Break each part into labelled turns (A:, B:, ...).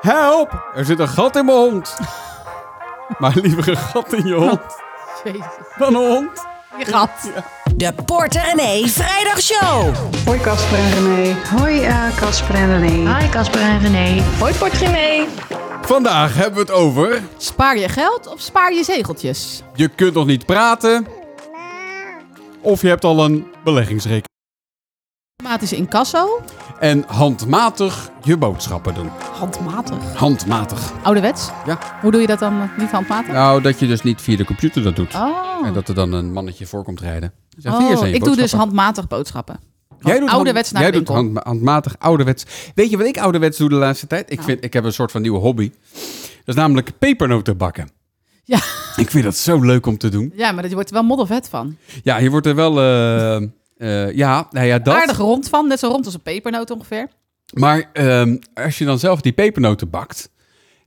A: Help! Er zit een gat in mijn hond. maar liever een gat in je hond
B: Jezus.
A: dan een hond.
B: Je gat.
C: De Porter René Vrijdagshow.
D: Hoi Casper en René. Hoi eh, Casper en René.
E: Hi Casper en René. Hoi Portree.
A: Vandaag hebben we het over...
B: Spaar je geld of spaar je zegeltjes?
A: Je kunt nog niet praten. Of je hebt al een beleggingsrekening.
B: Automatisch incasso.
A: En handmatig je boodschappen doen.
B: Handmatig.
A: Handmatig.
B: Ouderwets.
A: Ja.
B: Hoe doe je dat dan eh, niet handmatig?
A: Nou, dat je dus niet via de computer dat doet.
B: Oh.
A: En dat er dan een mannetje voor komt rijden. Die zegt,
B: Oh,
A: "Hier zijn je
B: ik doe dus
A: boodschappen."
B: handmatig boodschappen.
A: Jij doet
B: ouderwets naar
A: jij
B: de
A: doet
B: winkel.
A: hand- handmatig ouderwets. Weet je wat ik ouderwets doe de laatste tijd? Ik,
B: Nou.
A: vind, ik heb een soort van nieuwe hobby. Dat is namelijk pepernoten bakken.
B: Ja.
A: Ik vind dat zo leuk om te doen.
B: Ja, maar je wordt er wel moddervet van.
A: Ja, je wordt er wel... eh, eh, ja, nou ja, dat.
B: Aardig rond van. Net zo rond als een pepernoot ongeveer.
A: Maar ehm, als je dan zelf die pepernoten bakt...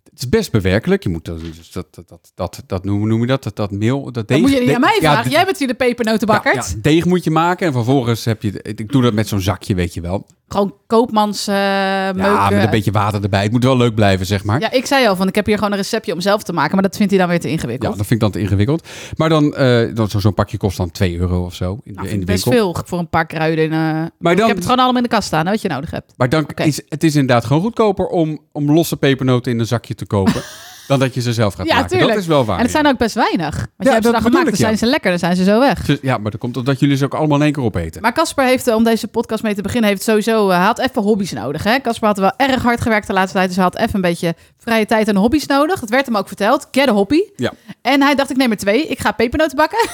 A: Het is best bewerkelijk. Je moet dat, dus dat, dat, dat, dat, dat hoe noem je dat? Dat, dat meel, dat deeg.
B: Dat moet je niet
A: deeg-
B: aan mij
A: ja,
B: vragen.
A: d-
B: Jij bent hier de pepernotenbakker.
A: ja, ja, deeg moet je maken en vervolgens heb je... Ik doe dat met zo'n zakje, weet je wel.
B: Gewoon koopmans eh
A: Ja,
B: meuken.
A: met een beetje water erbij. Het moet wel leuk blijven, zeg maar.
B: Ja, ik zei al van ik heb hier gewoon een receptje om zelf te maken. Maar dat vindt hij dan weer te
A: Ja,
B: ingewikkeld.
A: dat vind ik dan te ingewikkeld. Maar dan, eh dan zo- zo'n pakje kost dan 2 euro of zo in, de-
B: Nou,
A: in
B: vind
A: de
B: ik best
A: winkel.
B: veel voor een paar kruiden. eh.
A: Maar
B: ik
A: dan,
B: heb het gewoon allemaal in de kast staan, hè, wat je nodig hebt.
A: maar dan is het is inderdaad gewoon goedkoper om, om losse pepernoten in een zakje te kopen. dan dat je ze zelf gaat
B: Ja,
A: maken.
B: tuurlijk.
A: Dat is wel waar.
B: En het zijn ook best weinig. Want jij hebt
A: dat
B: ze dan
A: bedoel
B: gemaakt,
A: ik,
B: dan
A: ja.
B: zijn ze lekker, dan zijn ze zo weg.
A: Ze- Dus, Ja, maar dat komt omdat jullie ze ook allemaal in één keer opeten.
B: Maar Casper heeft, eh, om deze podcast mee te beginnen, heeft sowieso, eh, hij had even hobby's nodig. hè. Casper had wel erg hard gewerkt de laatste tijd, dus hij had even een beetje vrije tijd en hobby's nodig. Dat werd hem ook verteld, get a hobby.
A: Ja.
B: En hij dacht, ik neem er twee, ik ga pepernoten bakken.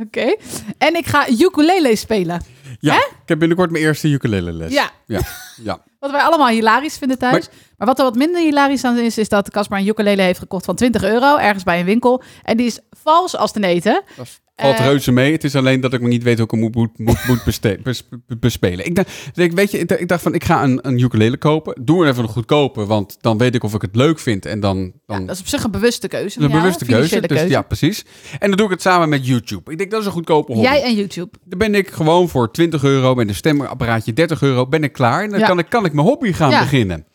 B: Oké. En ik ga ukulele spelen.
A: ja, ik heb binnenkort mijn eerste ukulele les.
B: Ja.
A: Ja, ja.
B: Wat wij allemaal hilarisch vinden thuis. Maar, wat er wat minder hilarisch aan is, is dat Casper een ukulele heeft gekocht van 20 euro ergens bij een winkel. En die is vals als ten eten.
A: Dat valt
B: Eh,
A: reuze mee. Het is alleen dat ik me niet weet hoe ik hem moet, moet, moet, moet beste- bes- bespelen. Ik dacht, ik, weet je, ik dacht- ik dacht van, ik ga een, een ukulele kopen. Doe er even een goedkope, want dan weet ik of ik het leuk vind. En dan,
B: Ja,
A: dan
B: dat is op zich een bewuste keuze.
A: Dat is een
B: ja,
A: bewuste keuze.
B: financiële
A: Dus, ja, precies. En dan doe ik het samen met YouTube. Ik denk, dat is een goedkope hobby.
B: Jij en YouTube.
A: Dan ben ik gewoon voor 20 euro met een stemapparaatje, 30 euro, ben ik klaar. En dan
B: Ja.
A: kan, ik, kan ik mijn hobby gaan
B: Ja.
A: beginnen.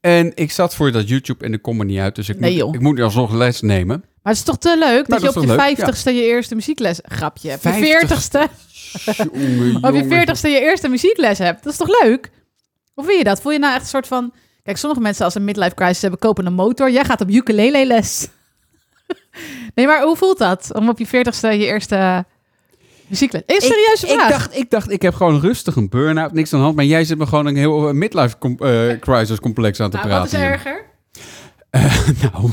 A: En ik zat voor dat YouTube en ik kom er niet uit. Dus ik,
B: Nee, joh.
A: moet, ik moet alsnog les nemen.
B: Maar het is toch te leuk
A: Nou,
B: dat,
A: dat is
B: je op
A: toch
B: je
A: leuk,
B: vijftigste je eerste muziekles... Grapje. Op je
A: 50ste.
B: veertigste
A: Jongen,
B: op je
A: jongen.
B: veertigste je eerste muziekles hebt. Dat is toch leuk? Hoe vind je dat? Voel je nou echt een soort van... Kijk, sommige mensen als ze een midlife crisis hebben, kopen een motor. Jij gaat op ukulele les. nee, maar hoe voelt dat? Om op je veertigste je eerste muziekles... Is een serieuze
A: ik
B: vraag.
A: dacht, ik dacht, ik heb gewoon rustig een burn-out, niks aan de hand. Maar jij zit me gewoon een heel midlife com- eh, crisis complex aan te
B: nou, wat is
A: praten. joh.
B: erger?
A: Nou,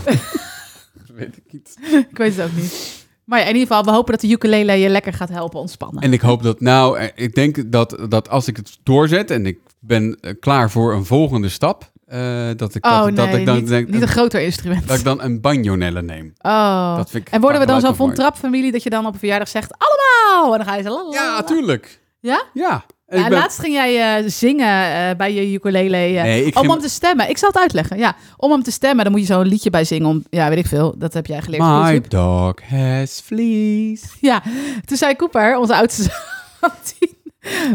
A: dat weet ik niet.
B: Ik weet het ook niet. Maar ja, in ieder geval, we hopen dat de ukulele je lekker gaat helpen ontspannen.
A: En ik hoop dat, nou, eh, ik denk dat, dat als ik het doorzet en ik ben eh, klaar voor een volgende stap, eh, dat ik,
B: oh
A: dat,
B: nee,
A: dat ik dan
B: niet,
A: denk
B: niet een groter instrument.
A: dat ik dan een banjonelle neem.
B: oh.
A: Dat vind ik
B: en worden we
A: qua
B: dan
A: geluid
B: zo'n
A: wel
B: Von Trapp familie dat je dan op een verjaardag zegt, allemaal! En dan ga je zo... la, la, la,
A: Ja,
B: la.
A: tuurlijk.
B: Ja?
A: Ja. En
B: Ja,
A: ik ben-
B: Laatst ging jij eh, zingen eh, bij je ukulele. eh,
A: Nee, ik
B: om
A: ging-
B: hem te stemmen. Ik zal het uitleggen. Ja, om hem te stemmen, dan moet je zo'n liedje bij zingen. Om, ja, weet ik veel. Dat heb jij geleerd. op
A: My
B: YouTube.
A: dog has fleas.
B: Ja, toen zei Cooper, onze oudste zoon, die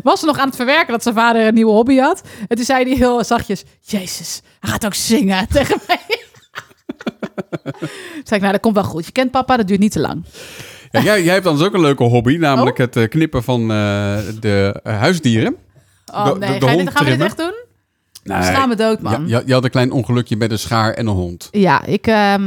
B: was nog aan het verwerken dat zijn vader een nieuwe hobby had. En toen zei hij heel zachtjes, Jezus, hij gaat ook zingen tegen mij. Toen zei ik, nou dat komt wel goed. Je kent papa, dat duurt niet te lang.
A: Ja, jij, jij hebt dan dus ook een leuke hobby, namelijk het eh, knippen van eh, de eh, huisdieren.
B: Oh
A: De- de-
B: nee,
A: de
B: Ga je dit-
A: hond
B: gaan we dit
A: trimmen?
B: echt doen? Sla me dood, man.
A: Ja, je, je had een klein ongelukje met een schaar en een hond.
B: Ja, ik, ehm,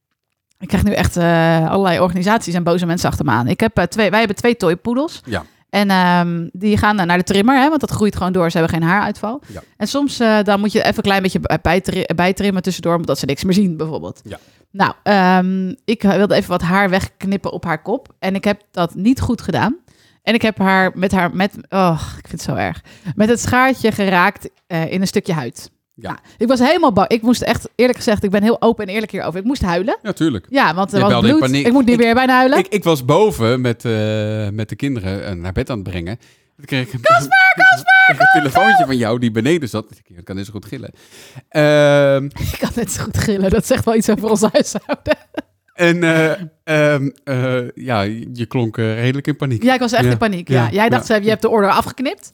B: ik krijg nu echt eh, allerlei organisaties en boze mensen achter me aan. Ik heb, eh, twee, wij hebben twee toypoedels.
A: Ja.
B: En ehm, die gaan naar de trimmer, hè, want dat groeit gewoon door. Ze hebben geen haaruitval.
A: Ja.
B: En soms eh, dan moet je even een klein beetje bij- bijtri- bijtrimmen tussendoor, omdat ze niks meer zien, bijvoorbeeld.
A: Ja.
B: Nou, ehm, ik wilde even wat haar wegknippen op haar kop. En ik heb dat niet goed gedaan. En ik heb haar met haar, met, oh, ik vind het zo erg, met het schaartje geraakt eh, in een stukje huid.
A: Ja.
B: Nou, ik was helemaal bang. Ik moest echt, eerlijk gezegd, ik ben heel open en eerlijk hierover. Ik moest huilen.
A: Ja, tuurlijk.
B: Ja, want er
A: Je
B: was
A: belde in
B: bloed.
A: paniek.
B: Ik moet nu
A: Ik-
B: weer bijna huilen.
A: Ik, ik was boven met, eh, met de kinderen eh, naar bed aan het brengen. Toen kreeg ik Kasper, Kasper! een telefoontje van jou die beneden zat. Ik dacht, Dat kan net zo goed gillen. Ehm,
B: Ik kan net zo goed gillen. Dat zegt wel iets over ons huishouden.
A: en eh, ehm, eh, ja, je klonk eh, redelijk in paniek.
B: Ja, ik was echt
A: Ja.
B: in paniek. Ja.
A: Ja.
B: Jij dacht,
A: Ja.
B: ze hebben- je hebt de order afgeknipt.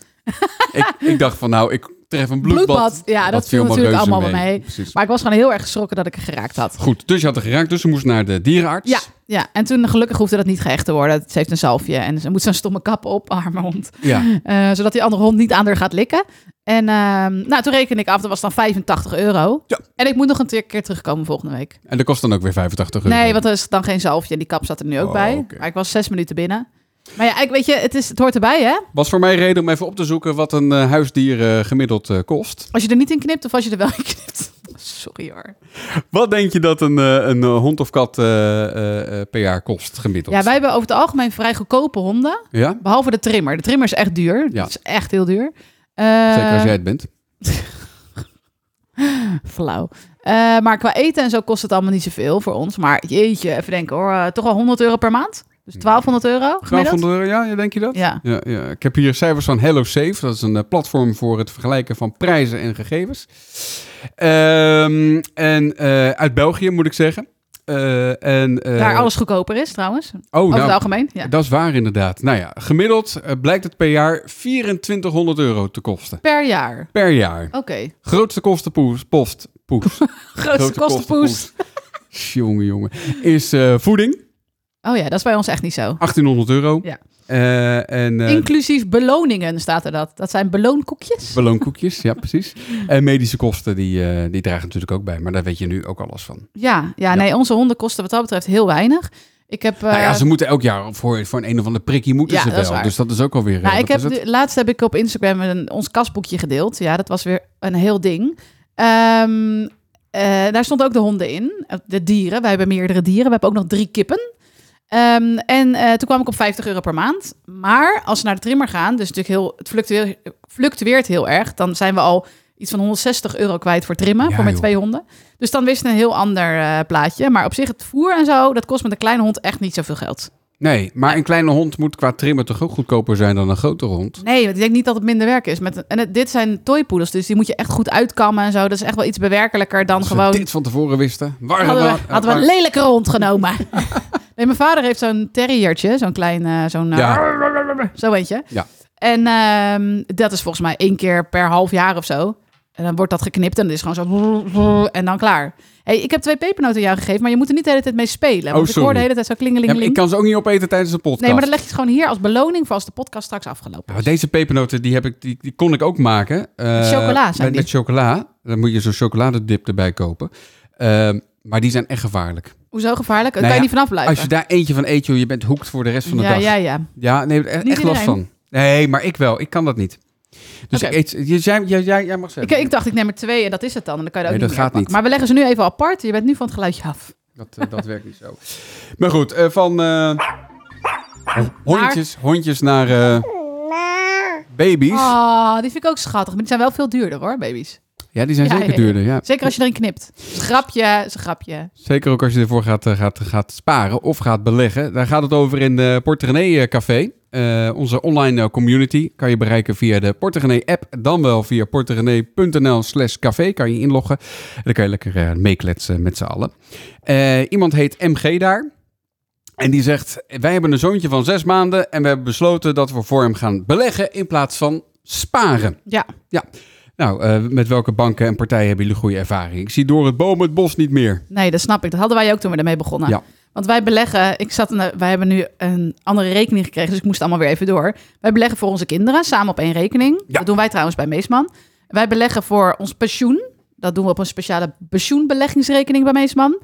A: ik, ik dacht van nou, ik betreft een bloedbad.
B: bloedbad. Ja, dat
A: Wat
B: viel natuurlijk
A: Marreuze
B: allemaal wel mee.
A: Precies.
B: Maar ik was gewoon heel erg geschrokken dat ik er geraakt had.
A: Goed, dus je had er geraakt, dus ze moest naar de dierenarts.
B: Ja, ja, en toen gelukkig hoefde dat niet gehecht te worden. Ze heeft een zalfje en ze moet zo'n stomme kap op, arme hond.
A: Ja.
B: Eh, zodat die andere hond niet aan haar gaat likken. En ehm, nou, toen reken ik af, dat was dan 85 euro.
A: Ja.
B: En ik moet nog een te- keer terugkomen volgende week.
A: En dat kost dan ook weer 85 euro.
B: Nee, want er is dan geen zalfje en die kap zat er nu ook
A: Oh,
B: bij.
A: oké.
B: Maar ik was zes minuten binnen. Maar ja, ik weet je, het, is, het hoort erbij hè.
A: Was voor mij reden om even op te zoeken wat een eh, huisdier eh, gemiddeld eh, kost.
B: Als je er niet in knipt of als je er wel in knipt. Sorry hoor.
A: Wat denk je dat een, eh, een eh, hond of kat eh, eh, eh, per jaar kost gemiddeld?
B: Ja, wij hebben over het algemeen vrij goedkope honden.
A: Ja?
B: Behalve de trimmer. De trimmer is echt duur.
A: Ja.
B: Dat is echt heel duur.
A: Zeker als
B: Eh,
A: jij het bent.
B: Ehm, Flauw. Eh, maar qua eten en zo kost het allemaal niet zoveel voor ons. Maar jeetje, even denken hoor. eh, toch wel 100 euro per maand? Dus 1200 euro gemiddeld?
A: 1200 euro, ja, ja, denk je dat?
B: Ja.
A: Ja, ja. Ik heb hier cijfers van HelloSafe. Dat is een eh, platform voor het vergelijken van prijzen en gegevens. Ehm, en eh, uit België, moet ik zeggen. Eh, en, eh,
B: Daar alles goedkoper is trouwens.
A: Oh,
B: Over het
A: nou,
B: algemeen. Ja.
A: dat is waar inderdaad. Nou ja, gemiddeld eh, blijkt het per jaar 2400 euro te kosten.
B: Per jaar.
A: Per jaar.
B: Oké.
A: Grootste kostenpoes, post, poes.
B: Grootste kostenpoes.
A: kostenpoes. jongen, jongen. Is eh, voeding,
B: Oh ja, dat is bij ons echt niet zo.
A: 1800 euro.
B: Ja.
A: Eh, en, eh,
B: Inclusief beloningen staat er dat. Dat zijn beloonkoekjes.
A: Ballonkoekjes, ja, precies. En medische kosten, die, eh, die dragen natuurlijk ook bij. Maar daar weet je nu ook alles van.
B: ja, ja, nee, onze honden kosten wat dat betreft heel weinig. Ik heb, eh,
A: nou ja, ze moeten elk jaar voor, voor een een of ander prikkie moeten
B: Ja,
A: ze
B: dat is
A: wel.
B: waar.
A: dus dat is ook alweer... eh,
B: Nou, ik
A: wat
B: heb
A: is het?
B: de- laatst heb ik op Instagram een, ons kasboekje gedeeld. Ja, dat was weer een heel ding. Ehm, eh, daar stond ook de honden in. Eh, De dieren. Wij hebben meerdere dieren. We hebben ook nog drie kippen. Ehm, en eh, toen kwam ik op 50 euro per maand. Maar als we naar de trimmer gaan, dus natuurlijk heel, het fluctueert, fluctueert heel erg. Dan zijn we al iets van 160 euro kwijt voor trimmen,
A: Ja,
B: voor met
A: joh.
B: twee honden. Dus dan wist het een heel ander eh, plaatje. Maar op zich, het voer en zo, dat kost met een kleine hond echt niet zoveel geld.
A: Nee, maar een kleine hond moet qua trimmen toch ook goedkoper zijn dan een grote hond?
B: Nee, want ik denk niet dat het minder werk is. Met, en het- dit zijn toypoedels, dus die moet je echt goed uitkammen en zo. Dat is echt wel iets bewerkelijker dan
A: Als
B: gewoon...
A: we dit van tevoren wisten. Waar
B: Hadden
A: we- Oh,
B: we, hadden we een lelijkere hond genomen. nee, mijn vader heeft zo'n terriertje, zo'n klein... eh, zo'n, eh,
A: Ja,
B: Zo weet je.
A: Ja.
B: En ehm, dat is volgens mij één keer per half jaar of zo. En dan wordt dat geknipt en het is gewoon zo... En dan klaar. Hey, ik heb twee pepernoten aan jou gegeven, maar je moet er niet de hele tijd mee spelen. Want ik
A: Oh, sorry.
B: hoor de hele tijd zo
A: Ja, maar
B: klingelingeling.
A: ik kan ze ook niet opeten tijdens de podcast.
B: nee, maar dat leg je gewoon hier als beloning voor als de podcast straks afgelopen
A: Ja,
B: is.
A: maar Nou, deze pepernoten die heb ik, die, die kon ik ook maken. Eh,
B: Met chocola zijn
A: met,
B: die.
A: met chocola. Dan moet je zo'n chocoladedip erbij kopen. Ehm, maar die zijn echt gevaarlijk.
B: Hoezo gevaarlijk? Dan
A: Nou
B: kan je
A: ja,
B: niet vanaf blijven.
A: Als je daar eentje van eet, joh, je bent hoekt voor de rest van de
B: ja,
A: dag.
B: ja, ja.
A: Ja, nee, e- echt last van.
B: iedereen.
A: Nee, maar ik wel. Ik kan dat niet. Dus
B: Oké.
A: ik eet, je- jij, jij, jij, jij mag
B: Ik,
A: zeggen.
B: ik dacht, ik neem er twee en dat is het dan. En dan kan je er ook
A: Nee,
B: niet
A: dat
B: meer
A: gaat
B: uitpakken. Maar we leggen ze nu even apart. Je bent nu van het geluidje af.
A: Dat, eh, dat werkt niet zo. Maar goed, eh, van eh, hondjes, hondjes naar eh, baby's.
B: Ah, die vind ik ook schattig. Maar die zijn wel veel duurder hoor, baby's.
A: Ja, die zijn
B: Ja,
A: zeker
B: ja, ja.
A: duurder. Ja.
B: Zeker als je erin knipt. Is een Grapje, is een grapje.
A: Zeker ook als je ervoor gaat, eh, gaat, gaat sparen of gaat beleggen. Daar gaat het over in de Portegenee Café. Eh, onze online eh, community kan je bereiken via de Portegenee app. Dan wel via portegenee.nl slash café kan je inloggen. En Dan kan je lekker eh, meekletsen met z'n allen. Eh, iemand heet MG daar. En die zegt, wij hebben een zoontje van zes maanden en we hebben besloten dat we voor hem gaan beleggen in plaats van sparen.
B: Ja.
A: Ja. Nou, eh, met welke banken en partijen hebben jullie goede ervaring? Ik zie door het boom het bos niet meer.
B: Nee, dat snap ik. Dat hadden wij ook toen we ermee begonnen.
A: Ja.
B: Want wij beleggen, ik zat, in- wij hebben nu een andere rekening gekregen, dus ik moest allemaal weer even door. Wij beleggen voor onze kinderen samen op één rekening.
A: Ja.
B: Dat doen wij trouwens bij Meesman. Wij beleggen voor ons pensioen. Dat doen we op een speciale pensioenbeleggingsrekening bij Meesman.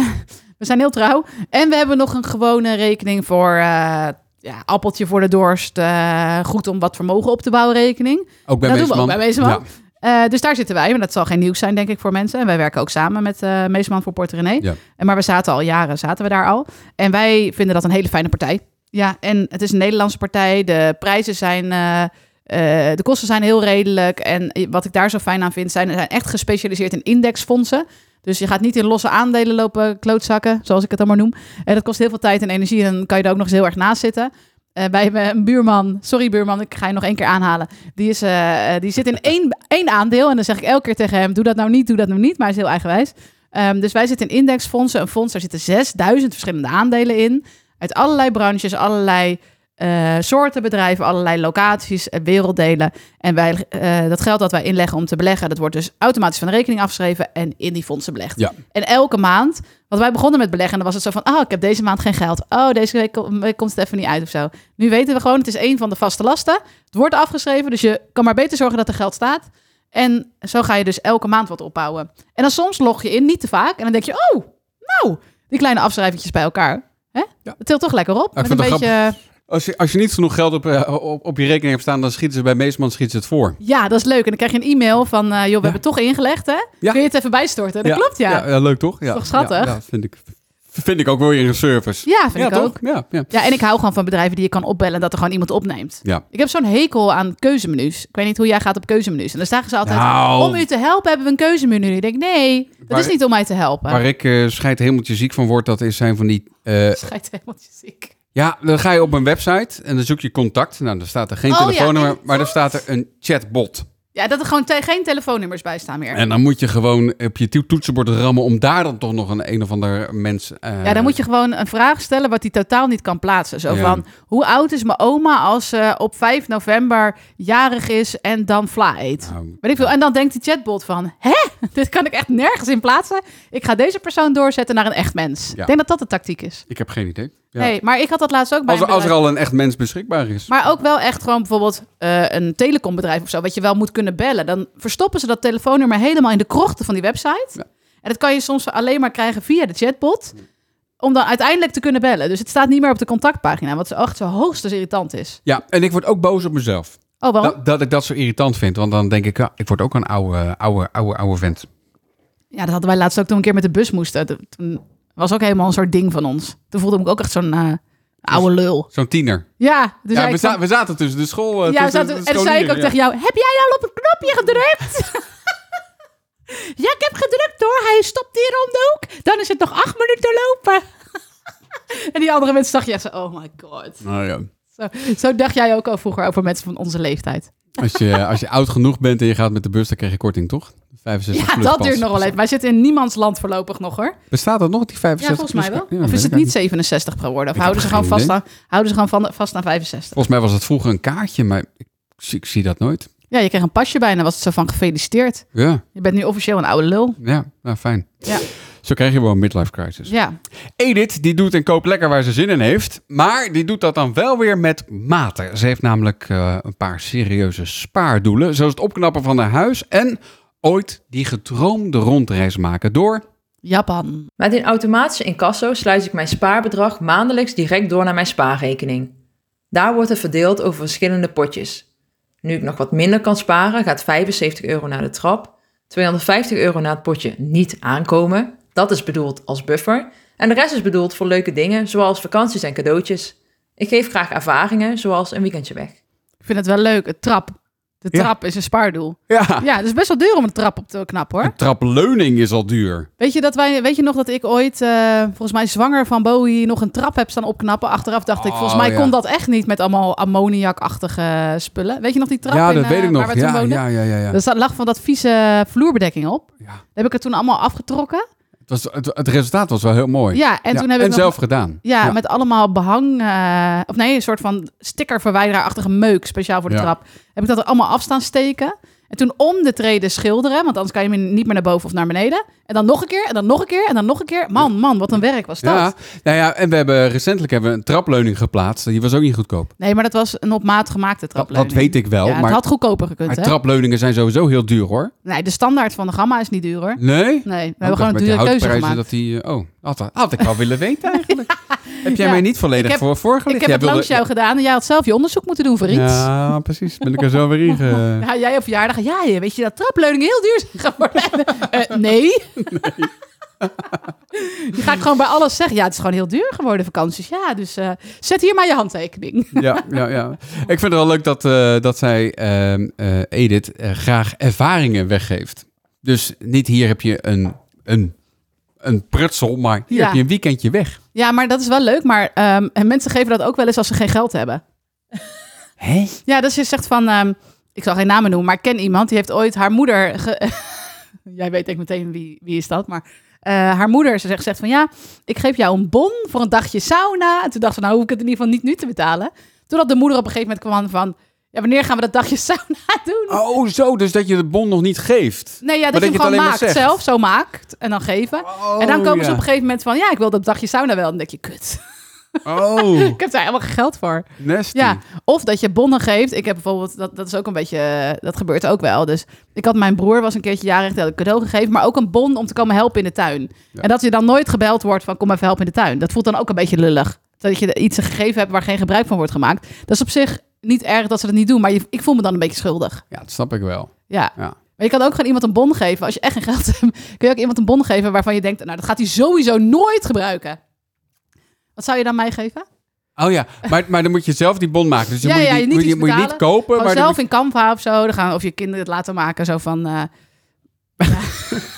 B: we zijn heel trouw. En we hebben nog een gewone rekening voor eh, ja, appeltje voor de dorst. eh, goed om wat vermogen op te bouwen rekening.
A: Ook bij
B: Dat doen we
A: Meesman.
B: ook bij Meesman. Eh, dus daar zitten wij, maar dat zal geen nieuws zijn, denk ik, voor mensen. En wij werken ook samen met eh, Meesman voor Port René.
A: Ja.
B: En, maar we zaten al jaren, zaten we daar al. En wij vinden dat een hele fijne partij. Ja, en het is een Nederlandse partij. De prijzen zijn, eh, eh, de kosten zijn heel redelijk. En wat ik daar zo fijn aan vind, zijn, zijn echt gespecialiseerd in indexfondsen. Dus je gaat niet in losse aandelen lopen klootzakken, zoals ik het dan maar noem. En dat kost heel veel tijd en energie en dan kan je er ook nog eens heel erg naast zitten. Eh, wij hebben een buurman, sorry buurman, ik ga je nog één keer aanhalen. Die, is, eh, eh, die zit in één, één aandeel en dan zeg ik elke keer tegen hem, doe dat nou niet, doe dat nou niet. Maar hij is heel eigenwijs. Ehm, dus wij zitten in indexfondsen. Een fonds, daar zitten 6000 verschillende aandelen in. Uit allerlei branches, allerlei eh, soorten bedrijven, allerlei locaties en werelddelen. En wij, eh, dat geld dat wij inleggen om te beleggen, dat wordt dus automatisch van de rekening afgeschreven en in die fondsen belegd.
A: Ja.
B: En elke maand, want wij begonnen met beleggen, en dan was het zo van, oh, ik heb deze maand geen geld. Oh, deze week kom- week komt het even niet uit of zo. Nu weten we gewoon, het is één van de vaste lasten. Het wordt afgeschreven, dus je kan maar beter zorgen dat er geld staat. En zo ga je dus elke maand wat opbouwen. En dan soms log je in, niet te vaak. En dan denk je, oh, nou, die kleine afschrijvingjes bij elkaar. Hè?
A: Ja.
B: Dat tilt toch lekker op.
A: ik
B: Met
A: vind
B: een
A: het
B: beetje...
A: Als je, als je niet genoeg geld op, eh, op, op je rekening hebt staan, dan schieten ze bij Meesman schieten ze het voor.
B: Ja, dat is leuk. En dan krijg je een e-mail van, eh, joh, we hebben het toch ingelegd, hè?
A: Ja.
B: Kun je het even bijstorten? Dat klopt, ja. Ja,
A: leuk toch? Ja.
B: Toch schattig?
A: Ja, ja, vind, ik, vind ik ook wel weer een service.
B: vind ik ook.
A: Ja, ja.
B: Ja, en ik hou gewoon van bedrijven die je kan opbellen en dat er gewoon iemand opneemt.
A: Ja.
B: Ik heb zo'n hekel aan keuzemenu's. Ik weet niet hoe jij gaat op keuzemenu's. En dan staan ze altijd,
A: Nou.
B: om u te helpen hebben we een keuzemenu. Ik denk, nee, dat
A: Waar-
B: is niet om mij te helpen.
A: Waar ik eh scheid hemeltje ziek van word, dat is zijn van die... eh,
B: Schijt helemaal ziek.
A: ja, dan ga je op een website en dan zoek je contact. Nou, dan staat er geen
B: Oh, ja,
A: telefoonnummer,
B: en-
A: maar er staat er een chatbot.
B: Ja, dat er gewoon te- geen telefoonnummers bij staan meer.
A: En dan moet je gewoon op je toetsenbord rammen om daar dan toch nog een een of ander mens... eh,
B: Ja, dan moet je gewoon een vraag stellen wat hij totaal niet kan plaatsen. Zo
A: Ja.
B: van, hoe oud is mijn oma als ze op 5 november jarig is en dan vla eet?
A: Nou,
B: Weet ik veel. En dan denkt die chatbot van, hè, dit kan ik echt nergens in plaatsen. Ik ga deze persoon doorzetten naar een echt mens.
A: Ja.
B: Ik denk dat dat de tactiek is.
A: ik heb geen idee. Ja.
B: Nee, maar ik had dat laatst ook bij
A: als, er,
B: een
A: als er
B: bedrijf.
A: al een echt mens beschikbaar is.
B: Maar ook wel echt gewoon bijvoorbeeld eh, een telecombedrijf of zo, wat je wel moet kunnen bellen. Dan verstoppen ze dat telefoonnummer helemaal in de krochten van die website.
A: Ja.
B: En dat kan je soms alleen maar krijgen via de chatbot, om dan uiteindelijk te kunnen bellen. Dus het staat niet meer op de contactpagina, wat echt zo hoogstens irritant is.
A: Ja, en ik word ook boos op mezelf.
B: Oh, waarom?
A: Dat, dat ik dat zo irritant vind. Want dan denk ik, ja, ik word ook een oude, oude, oude, oude vent.
B: Ja, dat hadden wij laatst ook toen we een keer met de bus moesten. Toen- Toen was ook helemaal een soort ding van ons. Toen voelde ik me ook echt zo'n eh, oude lul.
A: Zo'n tiener.
B: Ja, dus
A: ja, we, za- we zaten tussen de school. eh,
B: Ja, we
A: tussen
B: zaten-
A: de
B: en toen zei ik ook
A: scholieren,
B: tegen
A: ja.
B: jou: Heb jij al op een knopje gedrukt? ja, ik heb gedrukt hoor. Hij stopt hier om de hoek. Dan is het nog acht minuten lopen. en die andere mensen dacht je echt zo: Oh my god.
A: Nou ja.
B: Zo, zo dacht jij ook al vroeger over mensen van onze leeftijd.
A: Als je, als je oud genoeg bent en je gaat met de bus, dan krijg je korting, toch? 65
B: Ja,
A: plus
B: dat
A: pas.
B: duurt nog wel even. Wij zitten in niemands land voorlopig nog hoor.
A: Bestaat dat nog, die
B: Ja,
A: 65
B: volgens mij
A: plus?
B: wel.
A: dus- Ja,
B: Of
A: weet
B: is het
A: ik
B: niet 67 geworden? Of
A: Ik
B: houden ze
A: heb
B: gewoon
A: geen
B: vast
A: idee.
B: aan, houden ze gewoon van, vast aan 65?
A: Volgens mij was het vroeger een kaartje, maar ik, zie- ik zie dat nooit.
B: Ja, je kreeg een pasje bij en dan was het zo van gefeliciteerd.
A: Ja,
B: Je bent nu officieel een oude lul.
A: ja nou, fijn.
B: Ja.
A: Zo krijg je wel een midlife crisis.
B: Ja,
A: Edith, die doet en koopt lekker waar ze zin in heeft. Maar die doet dat dan wel weer met mate. Ze heeft namelijk eh, een paar serieuze spaardoelen. Zoals het opknappen van haar huis en ooit die gedroomde rondreis maken door...
B: Japan.
E: Met een automatische incasso sluit ik mijn spaarbedrag maandelijks direct door naar mijn spaarrekening. Daar wordt het verdeeld over verschillende potjes. Nu ik nog wat minder kan sparen, gaat 75 euro naar de trap, 250 euro naar het potje niet aankomen. Dat is bedoeld als buffer. En de rest is bedoeld voor leuke dingen, zoals vakanties en cadeautjes. Ik geef graag ervaringen, zoals een weekendje weg.
B: Ik vind het wel leuk, het trap. De
A: Ja.
B: trap is een spaardoel.
A: Ja,
B: Ja, het is best wel duur om een trap op te knappen hoor.
A: een trapleuning is al duur.
B: Weet je, dat wij, weet je nog dat ik ooit, eh, volgens mij zwanger van Bowie, nog een trap heb staan opknappen? Achteraf dacht ik,
A: Oh,
B: volgens mij
A: ja.
B: kon dat echt niet met allemaal ammoniakachtige spullen. Weet je nog die trap
A: ja,
B: in,
A: dat
B: eh,
A: weet ik nog.
B: waar we toen
A: Ja,
B: woonden?
A: ja, ja, ja, ja.
B: Er zat- lag van dat vieze vloerbedekking op.
A: Ja.
B: Daar heb ik het toen allemaal afgetrokken.
A: Het, was, het, het resultaat was wel heel mooi.
B: Ja, en
A: Ja,
B: toen heb ik nog-
A: zelf gedaan.
B: Ja, met allemaal behang, eh, of nee, een soort van stickerverwijderaarachtige meuk, speciaal voor de
A: Ja.
B: trap. Heb ik dat er allemaal af staan steken. En toen om de treden schilderen, want anders kan je hem niet meer naar boven of naar beneden. En dan nog een keer, en dan nog een keer, en dan nog een keer. Man, man, wat een werk was dat.
A: Ja, nou ja, en we hebben recentelijk hebben we een trapleuning geplaatst. Die was ook niet goedkoop.
B: Nee, maar dat was een op maat gemaakte
A: Dat,
B: trapleuning.
A: weet ik wel.
B: Ja, het
A: maar
B: had goedkoper gekund,
A: maar
B: hè?
A: trapleuningen zijn sowieso heel duur hoor.
B: Nee, de standaard van de gamma is niet duur, hoor.
A: Nee?
B: Nee, we
A: Oh,
B: hebben
A: ik
B: gewoon een
A: dacht met die
B: dure keuze
A: houtprijzen
B: gemaakt.
A: Dat die, eh, oh, had, had ik wel willen weten eigenlijk. Heb jij
B: Ja,
A: mij niet volledig
B: ik heb-
A: voor voorgelegd?
B: Ik heb
A: Jij
B: het langs jou
A: wilde-
B: gedaan en jij had zelf je onderzoek moeten doen voor iets. Ja.
A: Ja, precies. Ben ik er zo weer in ge-
B: jij op verjaardag. Ja, je weet je dat trapleuningen heel duur zijn geworden? Eh, nee. Je gaat gewoon bij alles zeggen. Ja, het is gewoon heel duur geworden, vakanties. Ja, dus eh, zet hier maar je handtekening.
A: ja, ja, ja. Ik vind het wel leuk dat, eh, dat zij, ehm, eh, Edith, eh, graag ervaringen weggeeft. Dus niet hier heb je een, een, een prutsel, maar hier
B: Ja.
A: heb je een weekendje weg.
B: Ja, maar dat is wel leuk. Maar ehm, en mensen geven dat ook wel eens als ze geen geld hebben.
A: Hé?
B: Ja, dus je zegt van... ehm, ik zal geen namen noemen, maar ik ken iemand. Die heeft ooit haar moeder... ge- Jij weet denk ik meteen wie, wie is dat, maar... eh, eh, haar moeder, ze zegt, zegt van ja, ik geef jou een bon voor een dagje sauna. En toen dacht ze, nou hoef ik het in ieder geval niet nu te betalen. Totdat de moeder op een gegeven moment kwam van, ja, wanneer gaan we dat dagje sauna doen?
A: Oh, zo. Dus dat je de bon nog niet geeft.
B: Nee, ja,
A: Maar
B: dat
A: dat
B: je hem
A: je het
B: gewoon
A: alleen maar
B: maakt
A: zegt.
B: zelf, zo maakt en dan geven. en dan komen ze op een gegeven moment van, ja, ik wil dat dagje sauna wel. En dan denk je, kut,
A: Oh,
B: ik heb daar helemaal geen geld voor.
A: nasty.
B: Ja, of dat je bonnen geeft. Ik heb bijvoorbeeld, dat, dat is ook een beetje, eh, dat gebeurt ook wel. Dus ik had mijn broer was een keertje jarig, die had ik cadeau gegeven, maar ook een bon om te komen helpen in de tuin.
A: Ja.
B: En dat je dan nooit gebeld wordt van kom even helpen in de tuin. Dat voelt dan ook een beetje lullig. Dat je iets gegeven hebt waar geen gebruik van wordt gemaakt. Dat is op zich niet erg dat ze dat niet doen, maar je, ik voel me dan een beetje schuldig.
A: Ja, dat snap ik wel.
B: Ja.
A: Ja.
B: Maar je kan ook gewoon iemand een bon geven. Als je echt geen geld hebt, kun je ook iemand een bon geven waarvan je denkt, nou dat gaat hij sowieso nooit gebruiken. Wat zou je dan mij geven?
A: Oh ja, maar, maar dan moet je zelf die bon maken. Dus dan
B: Ja,
A: moet je,
B: ja,
A: die-
B: je niet
A: moet je,
B: iets
A: moet je niet
B: betalen.
A: kopen. Maar
B: Gewoon
A: dan
B: zelf
A: moet
B: in Canva of zo. Dan gaan, of je kinderen het laten maken. Zo van, eh,
A: je-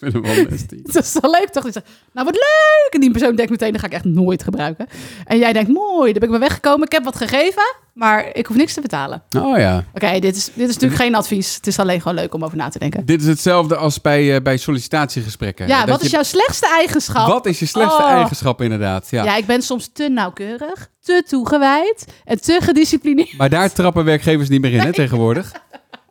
A: Ik vind hem wel nasty.
B: dat is wel leuk toch? Die zegt, nou wat leuk! En die persoon denkt meteen, dat ga ik echt nooit gebruiken. En jij denkt, mooi, daar ben ik me weggekomen. Ik heb wat gegeven, maar ik hoef niks te betalen.
A: Oh ja.
B: Oké, dit, is, dit is natuurlijk geen advies. Het is alleen gewoon leuk om over na te denken.
A: Dit is hetzelfde als bij, eh, bij sollicitatiegesprekken.
B: Ja,
A: Dat
B: wat
A: je-
B: is jouw slechtste eigenschap?
A: Wat is je slechtste
B: Oh.
A: eigenschap inderdaad? Ja.
B: Ja, ik ben soms te nauwkeurig, te toegewijd en te gedisciplineerd.
A: Maar daar trappen werkgevers niet meer in hè, tegenwoordig.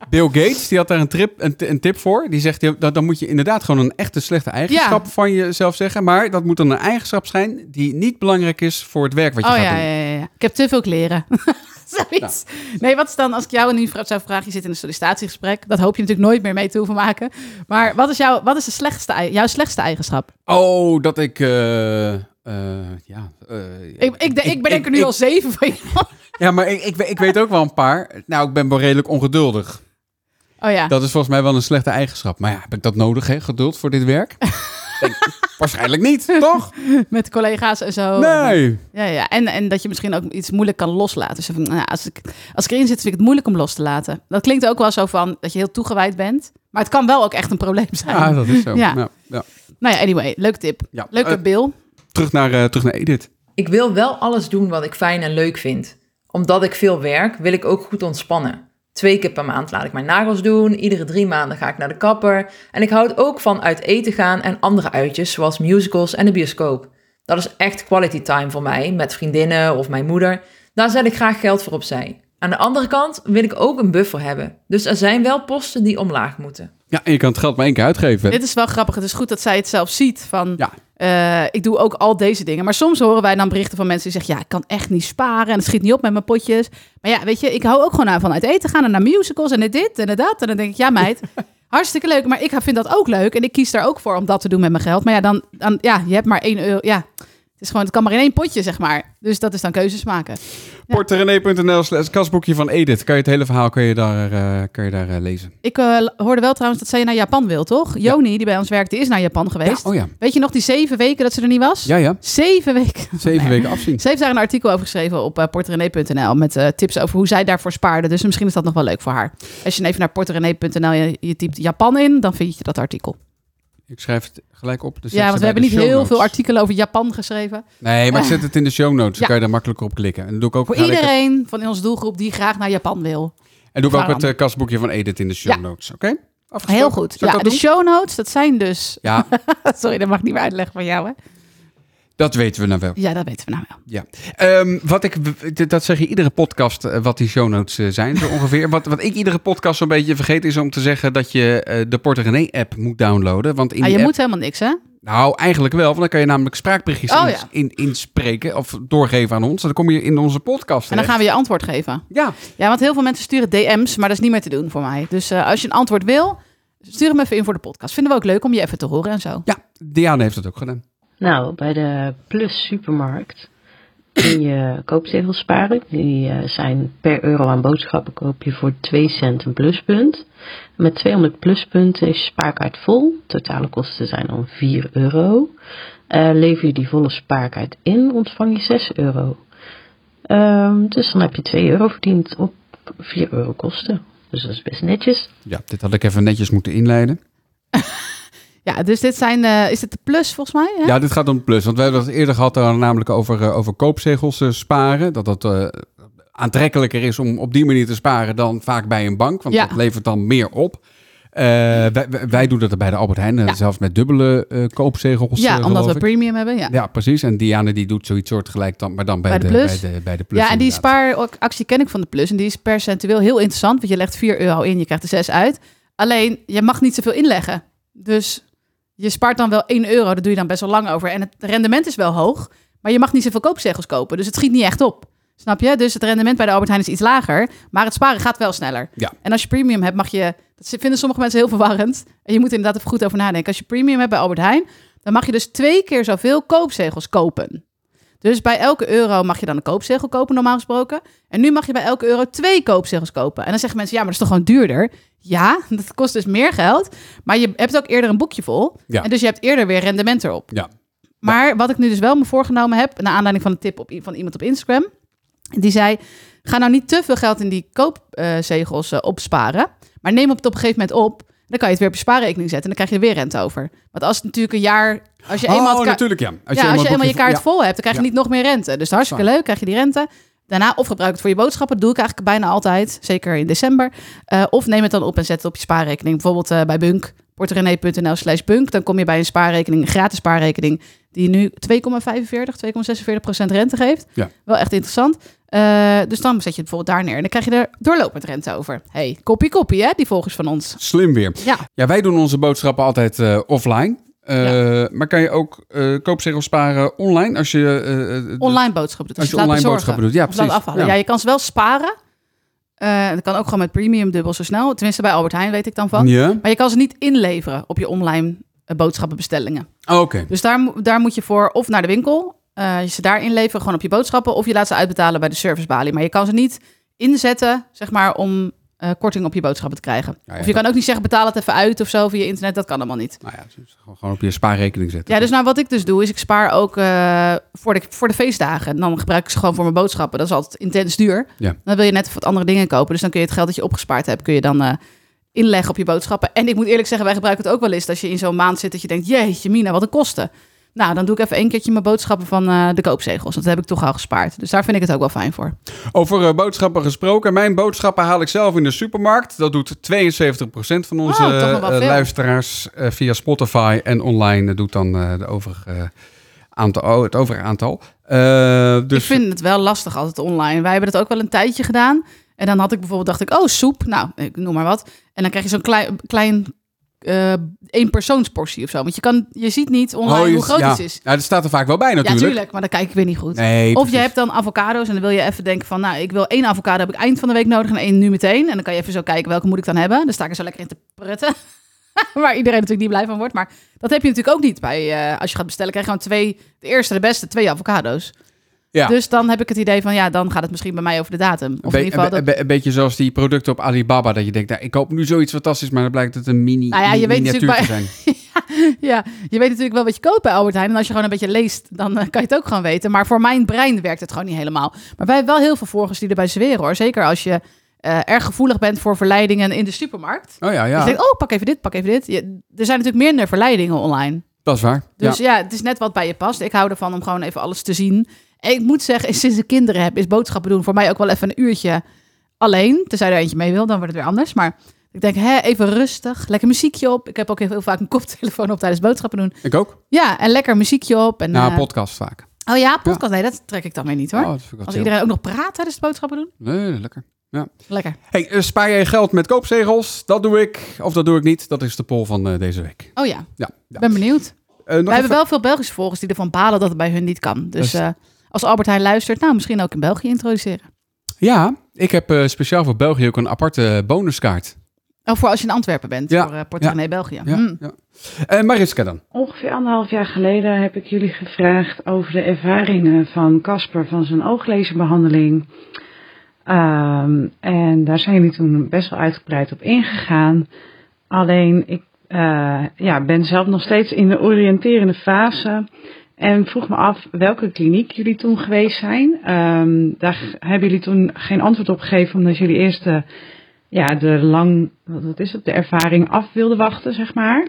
A: Bill Gates die had daar een, trip, een, een tip voor. Die zegt, ja, dat, dan moet je inderdaad gewoon een echte slechte eigenschap
B: Ja.
A: van jezelf zeggen. Maar dat moet dan een eigenschap zijn die niet belangrijk is voor het werk wat je
B: Oh
A: gaat
B: ja,
A: doen. Nou.
B: ja, ja, ja. Ik heb te veel kleren. Zoiets. Nee, wat is dan als ik jou en die vrouw zou vragen? Je zit in een sollicitatiegesprek. Dat hoop je natuurlijk nooit meer mee te hoeven maken. Maar wat is, jouw wat is de slechtste, ei- jouw slechtste eigenschap?
A: Oh, dat ik... eh, eh, ja, eh,
B: Ik, ik, de- ik bedenk er nu
A: ik-
B: al zeven van jou.
A: Ja, maar ik, ik, we- ik weet ook wel een paar. Nou, ik ben wel redelijk ongeduldig.
B: Oh ja.
A: Dat is volgens mij wel een slechte eigenschap. Maar ja, heb ik dat nodig, hè? Geduld voor dit werk? Denk, waarschijnlijk niet, toch?
B: Met collega's en zo.
A: Oh, Nee.
B: Ja, ja. En, en dat je misschien ook iets moeilijk kan loslaten. Dus van, nou, als, ik, als ik erin zit, vind ik het moeilijk om los te laten. Dat klinkt ook wel zo van dat je heel toegewijd bent. Maar het kan wel ook echt een probleem zijn.
A: Ja, Ah, dat is zo.
B: Ja.
A: Ja, ja.
B: Nou ja, anyway. Leuk tip.
A: Ja.
B: Leuke
A: Eh,
B: Bill.
A: terug, naar, eh, terug naar Edith.
E: Ik wil wel alles doen wat ik fijn en leuk vind. Omdat ik veel werk, wil ik ook goed ontspannen. Twee keer per maand laat ik mijn nagels doen, iedere drie maanden ga ik naar de kapper. En ik houd ook van uit eten gaan en andere uitjes, zoals musicals en de bioscoop. Dat is echt quality time voor mij, met vriendinnen of mijn moeder. Daar zet ik graag geld voor opzij. Aan de andere kant wil ik ook een buffer hebben. Dus er zijn wel posten die omlaag moeten.
A: Ja, en je kan het geld maar één keer uitgeven.
B: Dit is wel grappig. Het is goed dat zij het zelf ziet. Van,
A: Ja.
B: eh, ik doe ook al deze dingen. Maar soms horen wij dan berichten van mensen die zeggen... ja, ik kan echt niet sparen en het schiet niet op met mijn potjes. Maar ja, weet je, ik hou ook gewoon aan van uit eten gaan... en naar musicals en naar dit en naar dat. En dan denk ik, ja meid, hartstikke leuk. Maar ik vind dat ook leuk en ik kies daar ook voor om dat te doen met mijn geld. Maar ja, dan, dan ja, je hebt maar één euro... Ja. Het, is gewoon, het kan maar in één potje, zeg maar. Dus dat is dan keuzes maken. Ja.
A: Porterenee.nl slash kasboekje van Edith. Kan je het hele verhaal kan je daar, eh, kan je daar eh, lezen.
B: Ik eh, hoorde wel trouwens dat zij naar Japan wil, toch? Joni, die bij ons werkt, die is naar Japan
A: Ja,
B: geweest.
A: oh ja.
B: Weet je nog die zeven weken dat ze er niet was?
A: Ja, ja.
B: Zeven weken.
A: Zeven weken afzien.
B: Ze heeft daar een artikel over geschreven op eh, portrené.nl met eh, tips over hoe zij daarvoor spaarde. Dus misschien is dat nog wel leuk voor haar. Als je even naar portrené.nl je, je typt Japan in, dan vind je dat artikel.
A: Ik schrijf het gelijk op. Dus ik zet
B: ja, want we
A: bij
B: hebben
A: de
B: niet
A: show
B: heel veel
A: notes.
B: artikelen over Japan geschreven.
A: Nee, maar ik zet het in de show notes. Dan
B: Ja.
A: kan je daar makkelijker op klikken. En dan doe ik ook,
B: Voor
A: gelijk het-
B: iedereen van in onze doelgroep die graag naar Japan wil.
A: en doe ik ook
B: Waarom?
A: het eh, kasboekje van Edith in de show
B: Ja.
A: notes. Oké? Afgesproken.
B: Heel goed.
A: Zal ik
B: Ja, dus
A: dat
B: de
A: doen?
B: show notes, dat zijn dus...
A: Ja,
B: Sorry, dat mag ik niet meer uitleggen van jou, hè?
A: dat weten we nou wel.
B: Ja, dat weten we nou wel.
A: Ja. Ehm, wat ik, d- dat zeg je iedere podcast, eh, wat die show notes eh, zijn zo ongeveer. wat, wat ik iedere podcast zo'n beetje vergeet is om te zeggen dat je eh, de Porto René app moet downloaden. Want in
B: Ah,
A: die
B: je
A: app,
B: moet helemaal niks, hè?
A: Nou, eigenlijk wel, want dan kan je namelijk spraakberichtjes
B: Oh,
A: in-
B: ja.
A: in, inspreken of doorgeven aan ons. En dan kom je in onze podcast
B: En dan
A: terecht.
B: gaan we je antwoord geven.
A: Ja,
B: Ja, want heel veel mensen sturen DM's, maar dat is niet meer te doen voor mij. Dus eh, als je een antwoord wil, stuur hem even in voor de podcast. Vinden we ook leuk om je even te horen en zo.
A: ja, Diane heeft dat ook gedaan.
F: Nou, bij de Plus Supermarkt kun je koopzegels sparen. Die eh, zijn per euro aan boodschappen koop je voor 2 cent een pluspunt. Met 200 pluspunten is je spaarkaart vol. Totale kosten zijn dan 4 euro. Eh, lever je die volle spaarkaart in, ontvang je 6 euro. Ehm, dus dan heb je 2 euro verdiend op 4 euro kosten. Dus dat is best netjes.
A: Ja, dit had ik even netjes moeten inleiden.
B: Ja, dus dit zijn, eh, is dit de plus volgens mij? Hè?
A: Ja, dit gaat om plus. Want we hebben het eerder gehad eh, namelijk over, eh, over koopzegels eh, sparen. Dat dat eh, aantrekkelijker is om op die manier te sparen dan vaak bij een bank. Want
B: Ja.
A: dat levert dan meer op. Eh, Eh, wij, wij- wij doen dat er bij de Albert Heijn, eh,
B: Ja.
A: zelfs met dubbele eh, koopzegels.
B: ja,
A: eh,
B: omdat we
A: geloof ik.
B: premium hebben. Ja, ja,
A: Ja, precies. En Diane die doet zoiets soortgelijk, dan, maar dan bij,
B: Bij
A: de,
B: de
A: bij,
B: Plus.
A: de, bij de Plus.
B: en die
A: inderdaad.
B: spaaractie ken ik van de Plus. En die is percentueel heel interessant, want je legt 4 euro in, je krijgt er 6 uit. Alleen, je mag niet zoveel inleggen. Dus je spaart dan wel 1 euro, daar doe je dan best wel lang over. En het rendement is wel hoog, maar je mag niet zoveel koopzegels kopen. Dus het schiet niet echt op. Snap je? Dus het rendement bij de Albert Heijn is iets lager, maar het sparen gaat wel sneller.
A: Ja.
B: En als je premium hebt, mag je... Dat vinden sommige mensen heel verwarrend. En je moet er inderdaad even goed over nadenken. Als je premium hebt bij Albert Heijn, dan mag je dus twee keer zoveel koopzegels kopen. Dus bij elke euro mag je dan een koopzegel kopen, normaal gesproken. En nu mag je bij elke euro twee koopzegels kopen. En dan zeggen mensen, ja, maar dat is toch gewoon duurder? Ja, dat kost dus meer geld. Maar je hebt ook eerder een boekje vol.
A: Ja.
B: En dus je hebt eerder weer rendement erop.
A: Ja.
B: Maar wat ik nu dus wel me voorgenomen heb, naar aanleiding van een tip op, i- van iemand op Instagram. Die zei, ga nou niet te veel geld in die koopzegels eh, opsparen. Maar neem het op een gegeven moment op. Dan kan je het weer op je spaarrekening zetten. En dan krijg je er weer rente over. Want als het natuurlijk een jaar... Als je eenmaal
A: oh,
B: het ka-
A: natuurlijk, ja. Als
B: ja, als je
A: het
B: eenmaal je
A: boekje-
B: kaart
A: ja.
B: vol hebt, dan krijg je
A: Ja.
B: niet nog meer rente. Dus hartstikke
A: Waar.
B: leuk, krijg je die rente. Daarna of gebruik het voor je boodschappen. Dat doe ik eigenlijk bijna altijd, zeker in december. Eh, of neem het dan op en zet het op je spaarrekening. Bijvoorbeeld eh, bij Bunk, porterenee.nl slash Bunk. Dan kom je bij een spaarrekening, een gratis spaarrekening... die nu 2,45, 2,46 procent rente geeft.
A: Ja.
B: Wel echt interessant. Eh, dus dan zet je het bijvoorbeeld daar neer. En dan krijg je er doorlopend rente over. hey, koppie koppie hè, die volgers van ons.
A: Slim weer.
B: Ja.
A: Ja, wij doen onze boodschappen altijd eh, offline. Eh, Maar kan je ook eh koopzegels sparen online als je... eh, eh,
B: online boodschappen doet.
A: Als je
B: het laat
A: online
B: bezorgen.
A: boodschappen doet, ja,
B: Of laat
A: precies.
B: afhalen.
A: Ja.
B: Ja. je kan ze wel sparen. Eh, dat kan ook gewoon met premium dubbel zo snel. Tenminste, bij Albert Heijn weet ik dan van.
A: Ja,
B: Maar je kan ze niet inleveren op je online eh, boodschappenbestellingen.
A: Oh, oké.
B: Dus daar, mo- daar moet je voor of naar de winkel, eh, je ze daar inleveren gewoon op je boodschappen, of je laat ze uitbetalen bij de servicebalie. Maar je kan ze niet inzetten, zeg maar, om eh, korting op je boodschappen te krijgen.
A: ja,
B: of je
A: dat-
B: kan ook niet zeggen, betaal het even uit of zo via internet. Dat kan allemaal niet.
A: Nou ja, dus gewoon gewoon op je spaarrekening zetten.
B: Ja, dus nou wat ik dus doe, is ik spaar ook eh, voor, de, voor de feestdagen. En dan gebruik ik ze gewoon voor mijn boodschappen. Dat is altijd intens duur.
A: Ja.
B: Dan wil je net wat andere dingen kopen. Dus dan kun je het geld dat je opgespaard hebt, kun je dan eh, inleggen op je boodschappen. En ik moet eerlijk zeggen, wij gebruiken het ook wel eens. Als je in zo'n maand zit dat je denkt, jeetje mina, wat een kosten. Nou, dan doe ik even één keertje mijn boodschappen van eh, de koopzegels. Dat heb ik toch al gespaard. Dus daar vind ik het ook wel fijn voor.
A: Over eh, boodschappen gesproken. Mijn boodschappen haal ik zelf in de supermarkt. Dat doet 72% van onze
B: Oh, toch nog wel
A: eh,
B: veel.
A: luisteraars eh, via Spotify en online. Dat doet dan eh, de overige, eh, aantal, oh, het overige aantal. Eh, dus,
B: Ik vind het wel lastig altijd online. Wij hebben dat ook wel een tijdje gedaan. En dan had ik bijvoorbeeld, dacht ik, oh, soep. Nou, ik noem maar wat. En dan krijg je zo'n klein, klein eh eenpersoonsportie of zo. Want je, kan, je ziet niet online
A: Oh, je-
B: hoe groot
A: ja.
B: het is.
A: Ja, dat staat er vaak wel bij natuurlijk.
B: Ja, tuurlijk, maar dan kijk ik weer niet goed.
A: Nee,
B: of je
A: precies.
B: hebt dan avocado's en dan wil je even denken van... nou, ik wil één avocado, heb ik eind van de week nodig en één nu meteen. En dan kan je even zo kijken, welke moet ik dan hebben? Dan sta ik er zo lekker in te prutten. Waar iedereen natuurlijk niet blij van wordt. Maar dat heb je natuurlijk ook niet bij... eh, als je gaat bestellen, krijg je gewoon twee... de eerste, de beste, twee avocado's.
A: Ja.
B: Dus dan heb ik het idee van, ja, dan gaat het misschien bij mij over de datum. Of
A: Be-
B: in ieder geval...
A: een,
B: Dat,
A: be- een beetje zoals die producten op Alibaba. Dat je denkt, nou, ik koop nu zoiets fantastisch, maar dan blijkt het een mini
B: Nou ja, je
A: mi-
B: weet
A: miniatuur
B: natuurlijk
A: te zijn.
B: ja, je weet natuurlijk wel wat je koopt bij Albert Heijn. En als je gewoon een beetje leest, dan eh, kan je het ook gewoon weten. Maar voor mijn brein werkt het gewoon niet helemaal. Maar wij hebben wel heel veel volgers die erbij zweren, hoor. Zeker als je eh, erg gevoelig bent voor verleidingen in de supermarkt.
A: Oh ja, ja.
B: Dus je denkt, oh, pak even dit, pak even dit. Je- er zijn natuurlijk minder verleidingen online.
A: dat is waar.
B: Dus
A: ja.
B: ja. het is net wat bij je past. Ik hou ervan om gewoon even alles te zien. En ik moet zeggen, sinds ik kinderen heb, is boodschappen doen voor mij ook wel even een uurtje alleen. Tenzij er eentje mee wil, dan wordt het weer anders. Maar ik denk, hè, even rustig, lekker muziekje op. Ik heb ook heel, heel vaak een koptelefoon op tijdens boodschappen doen.
A: Ik ook.
B: Ja, en lekker muziekje op. En,
A: Na een
B: eh,
A: podcast vaak.
B: oh ja, podcast. Nee, dat trek ik dan weer niet hoor.
A: Oh, dat vind ik wel
B: Als
A: chill.
B: iedereen ook nog praat tijdens het boodschappen doen.
A: Nee, lekker.
B: Lekker.
A: Hey, eh, spaar jij geld met koopzegels? Dat doe ik. Of dat doe ik niet. Dat is de poll van eh, deze week.
B: Oh ja,
A: Ja. ja.
B: ik ben benieuwd.
A: Eh, nog
B: We hebben
A: even-
B: wel veel Belgische volgers die ervan balen dat het bij hun niet kan. Dus
A: Dat is-
B: eh, als Albert Heijn luistert, nou misschien ook in België introduceren.
A: Ja, ik heb eh, speciaal voor België ook een aparte bonuskaart.
B: Of voor als je in Antwerpen bent,
A: Ja,
B: voor eh Portemonnee België.
A: Ja,
B: Hm.
A: ja. Eh, Mariska dan.
D: Ongeveer anderhalf jaar geleden heb ik jullie gevraagd over de ervaringen van Casper van zijn ooglezerbehandeling. Ehm, en daar zijn jullie toen best wel uitgebreid op ingegaan. Alleen ik eh, ja, ben zelf nog steeds in de oriënterende fase. En vroeg me af welke kliniek jullie toen geweest zijn. Ehm, daar g- hebben jullie toen geen antwoord op gegeven omdat jullie eerst de, ja, de, lang, wat is het, de ervaring af wilden wachten, zeg maar.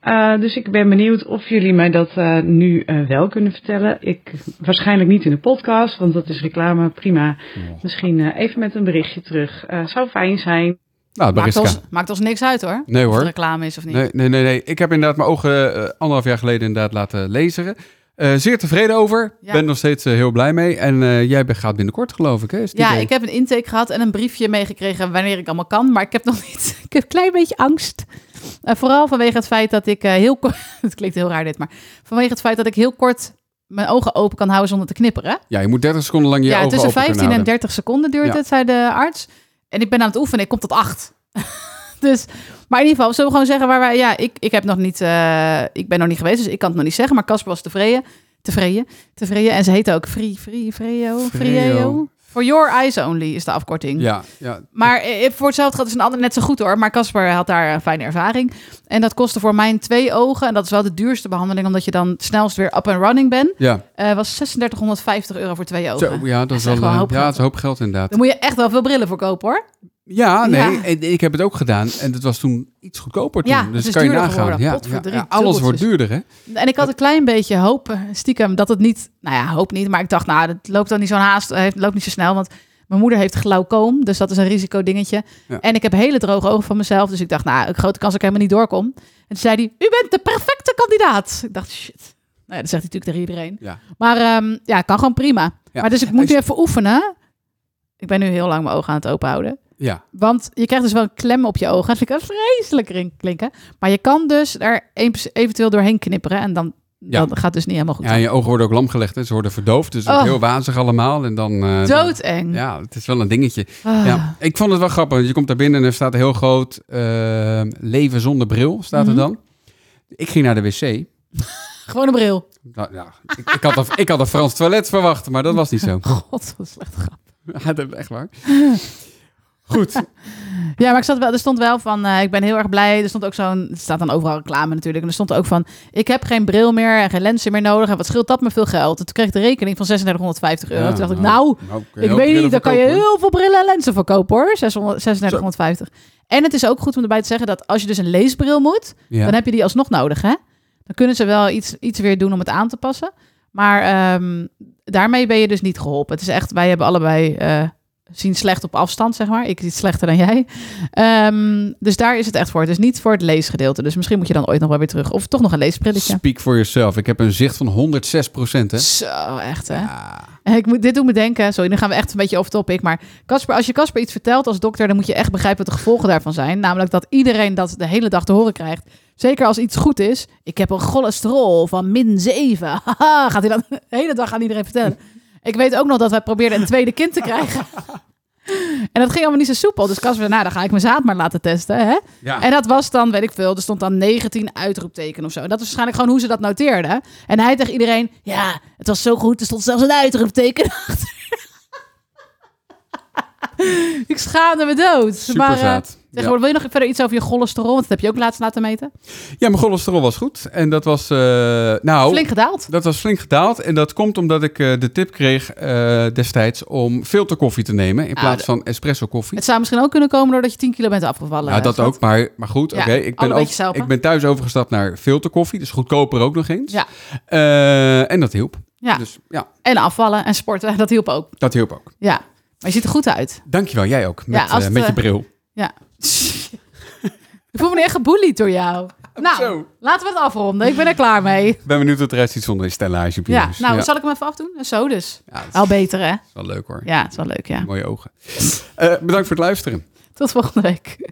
D: Eh, dus ik ben benieuwd of jullie mij dat eh, nu eh, wel kunnen vertellen. Ik waarschijnlijk niet in de podcast, want dat is reclame, prima. Misschien eh, even met een berichtje terug. Eh, zou fijn zijn.
A: Nou,
B: Maakt
A: Bariska.
B: ons, maakt ons niks uit hoor.
A: Nee
B: Of het
A: hoor.
B: reclame is of niet.
A: Nee, nee, nee, nee. Ik heb inderdaad mijn ogen eh, anderhalf jaar geleden inderdaad laten laseren. Eh, zeer tevreden over.
B: Ja.
A: Ben er nog steeds eh, heel blij mee. En eh, jij be- gaat binnenkort geloof ik, hè? Is het
B: Ja,
A: idee?
B: ik heb een intake gehad en een briefje meegekregen wanneer ik allemaal kan. Maar ik heb nog niet. Ik heb een klein beetje angst. Eh, vooral vanwege het feit dat ik eh, heel kort. Het klinkt heel raar dit, maar vanwege het feit dat ik heel kort mijn ogen open kan houden zonder te knipperen.
A: Ja, je moet 30 seconden lang je
B: ja,
A: ogen
B: tussen
A: open kunnen
B: 15 en
A: houden.
B: 30 seconden duurt
A: Ja.
B: het, zei de arts. En ik ben aan het oefenen, ik kom tot 8. dus, maar in ieder geval, zullen we gewoon zeggen waar wij... Ja, ik, ik, heb nog niet, eh, ik ben nog niet geweest, dus ik kan het nog niet zeggen. Maar Casper was tevreden. Tevreden? Tevreden. En ze heette ook Free, Free, Freo, Freo.
A: Freo.
B: For Your Eyes Only is de afkorting.
A: Ja, ja.
B: Maar eh, voor hetzelfde geld is een ander net zo goed hoor. Maar Casper had daar een fijne ervaring. En dat kostte voor mijn twee ogen. En dat is wel de duurste behandeling, omdat je dan snelst weer up and running bent.
A: ja.
B: Eh, was 3650 euro voor twee ogen.
A: Zo, ja, dat is
B: echt
A: wel
B: wel een
A: eh,
B: hoop
A: ja,
B: geld.
A: het is een hoop geld inderdaad.
B: Dan moet je echt wel veel brillen voor kopen hoor.
A: Ja, nee,
B: Ja.
A: en ik heb het ook gedaan. En het was toen iets goedkoper toen.
B: Ja, het
A: dus
B: is
A: kan je
B: duurder
A: nagaan.
B: geworden.
A: Ja,
B: Potverdrie,
A: ja, alles wordt
B: dubbeltjes.
A: duurder, hè?
B: En ik had een klein beetje hoop, eh, stiekem, dat het niet... Nou ja, hoop niet, maar ik dacht, nou, het loopt dan niet zo'n haast, eh, het loopt niet zo snel. Want mijn moeder heeft glaucoom, dus dat is een risicodingetje.
A: Ja.
B: En ik heb hele droge ogen van mezelf, dus ik dacht, nou, een grote kans dat ik helemaal niet doorkom. En toen zei hij, u bent de perfecte kandidaat. Ik dacht, shit. Nou ja, dat zegt hij natuurlijk tegen iedereen.
A: Ja.
B: Maar ehm, ja, kan gewoon prima.
A: Ja.
B: Maar dus ik moet
A: Als-
B: nu even oefenen. Ik ben nu heel lang mijn ogen aan het openhouden.
A: Ja,
B: Want je krijgt dus wel een klem op je ogen. Dat vind ik wel vreselijk rin- klinken. Maar je kan dus er een- eventueel doorheen knipperen. En dan,
A: Ja.
B: dan gaat het dus niet helemaal goed.
A: ja en je ogen worden ook lam gelegd. Hè? Ze worden verdoofd. Dus het
B: Oh.
A: is heel wazig allemaal. En dan, eh, dan-
B: Doodeng.
A: ja, het is wel een dingetje.
B: Ah.
A: Ja, ik vond het wel grappig. want Je komt daar binnen en er staat heel groot eh, leven zonder bril, staat er
B: Mhm.
A: dan. Ik ging naar de wc.
B: Gewoon een bril.
A: Nou, ja, ik, ik, had een, ik had een Frans toilet verwacht, maar dat was niet zo.
B: God, wat een slechte grap.
A: Ja, dat is echt waar. Goed.
B: Ja, maar ik zat wel, er stond wel van, eh, ik ben heel erg blij. Er stond ook zo'n, er staat dan overal reclame natuurlijk. En er stond ook van, ik heb geen bril meer en geen lenzen meer nodig. En wat scheelt dat me veel geld? En toen kreeg ik de rekening van 3650 euro.
A: Ja,
B: toen dacht ik, nou,
A: nou, kun je
B: Ik
A: ook
B: weet
A: brillen
B: niet, dan kan je
A: verkopen,
B: heel veel brillen en lenzen verkopen hoor. 600 3650. En het is ook goed om erbij te zeggen dat als je dus een leesbril moet,
A: hè? Ja.
B: dan heb je die alsnog nodig hè. Dan kunnen ze wel iets, iets weer doen om het aan te passen. Maar ehm, daarmee ben je dus niet geholpen. Het is echt, wij hebben allebei eh, zien slecht op afstand, zeg maar. Ik iets slechter dan jij. Ehm, dus daar is het echt voor. Het is niet voor het leesgedeelte. Dus misschien moet je dan ooit nog wel weer terug. Of toch nog een leesbrilletje.
A: Speak for yourself. Ik heb een zicht van 106 procent, hè?
B: Zo, echt hè.
A: Ja.
B: En Ik moet, dit doet me denken, sorry, nu gaan we echt een beetje off topic, maar Casper, als je Casper iets vertelt als dokter, dan moet je echt begrijpen wat de gevolgen daarvan zijn. Namelijk dat iedereen dat de hele dag te horen krijgt. Zeker als iets goed is. Ik heb een cholesterol van min 7. Haha, Gaat hij dat de hele dag aan iedereen vertellen. Ik weet ook nog dat wij probeerden een tweede kind te krijgen. En dat ging allemaal niet zo soepel. Dus Casper zei, nou, dan ga ik mijn zaad maar laten testen. Hè?
A: Ja.
B: En dat was dan, weet ik veel, er stond dan 19 uitroepteken of zo. En dat is waarschijnlijk gewoon hoe ze dat noteerden. En hij tegen iedereen, ja, het was zo goed, er stond zelfs een uitroepteken achter. ik schaamde me dood. maar eh,
A: Superzaad.
B: zeg,
A: Ja.
B: wil je nog verder iets over je cholesterol? Want dat heb je ook laatst laten meten.
A: ja, mijn cholesterol was goed. En dat was, eh, nou...
B: Flink gedaald.
A: Dat was flink gedaald. En dat komt omdat ik eh, de tip kreeg eh, destijds om filterkoffie te nemen in
B: Ah,
A: plaats
B: de-
A: van espresso koffie.
B: Het zou misschien ook kunnen komen doordat je 10 kilo bent afgevallen.
A: Nou, dat
B: Schat.
A: ook, maar, maar goed,
B: Ja,
A: oké. Ik, ben
B: allebei
A: ook-
B: jezelf, hè?
A: ik ben thuis overgestapt naar filterkoffie, dus goedkoper ook nog eens.
B: Ja.
A: Eh, en dat hielp.
B: Ja.
A: Dus ja,
B: En afvallen en sporten, dat hielp ook.
A: dat hielp ook.
B: Ja, maar je ziet er goed uit.
A: Dankjewel, jij ook, met,
B: Ja, als
A: eh,
B: het,
A: met je
B: eh,
A: bril.
B: Ja. ik voel me nu echt geboelied door jou. Nou,
A: Zo.
B: laten we het afronden. Ik ben er klaar mee.
A: Ik ben benieuwd wat er iets zonder die stellage op je
B: Ja,
A: neus.
B: nou,
A: ja.
B: zal ik hem even afdoen? En Zo dus.
A: Ja, dat
B: Wel
A: is
B: beter, hè?
A: wel leuk hoor.
B: Ja, het is wel leuk, ja.
A: Mooie ogen. Eh, bedankt voor het luisteren.
B: Tot volgende week.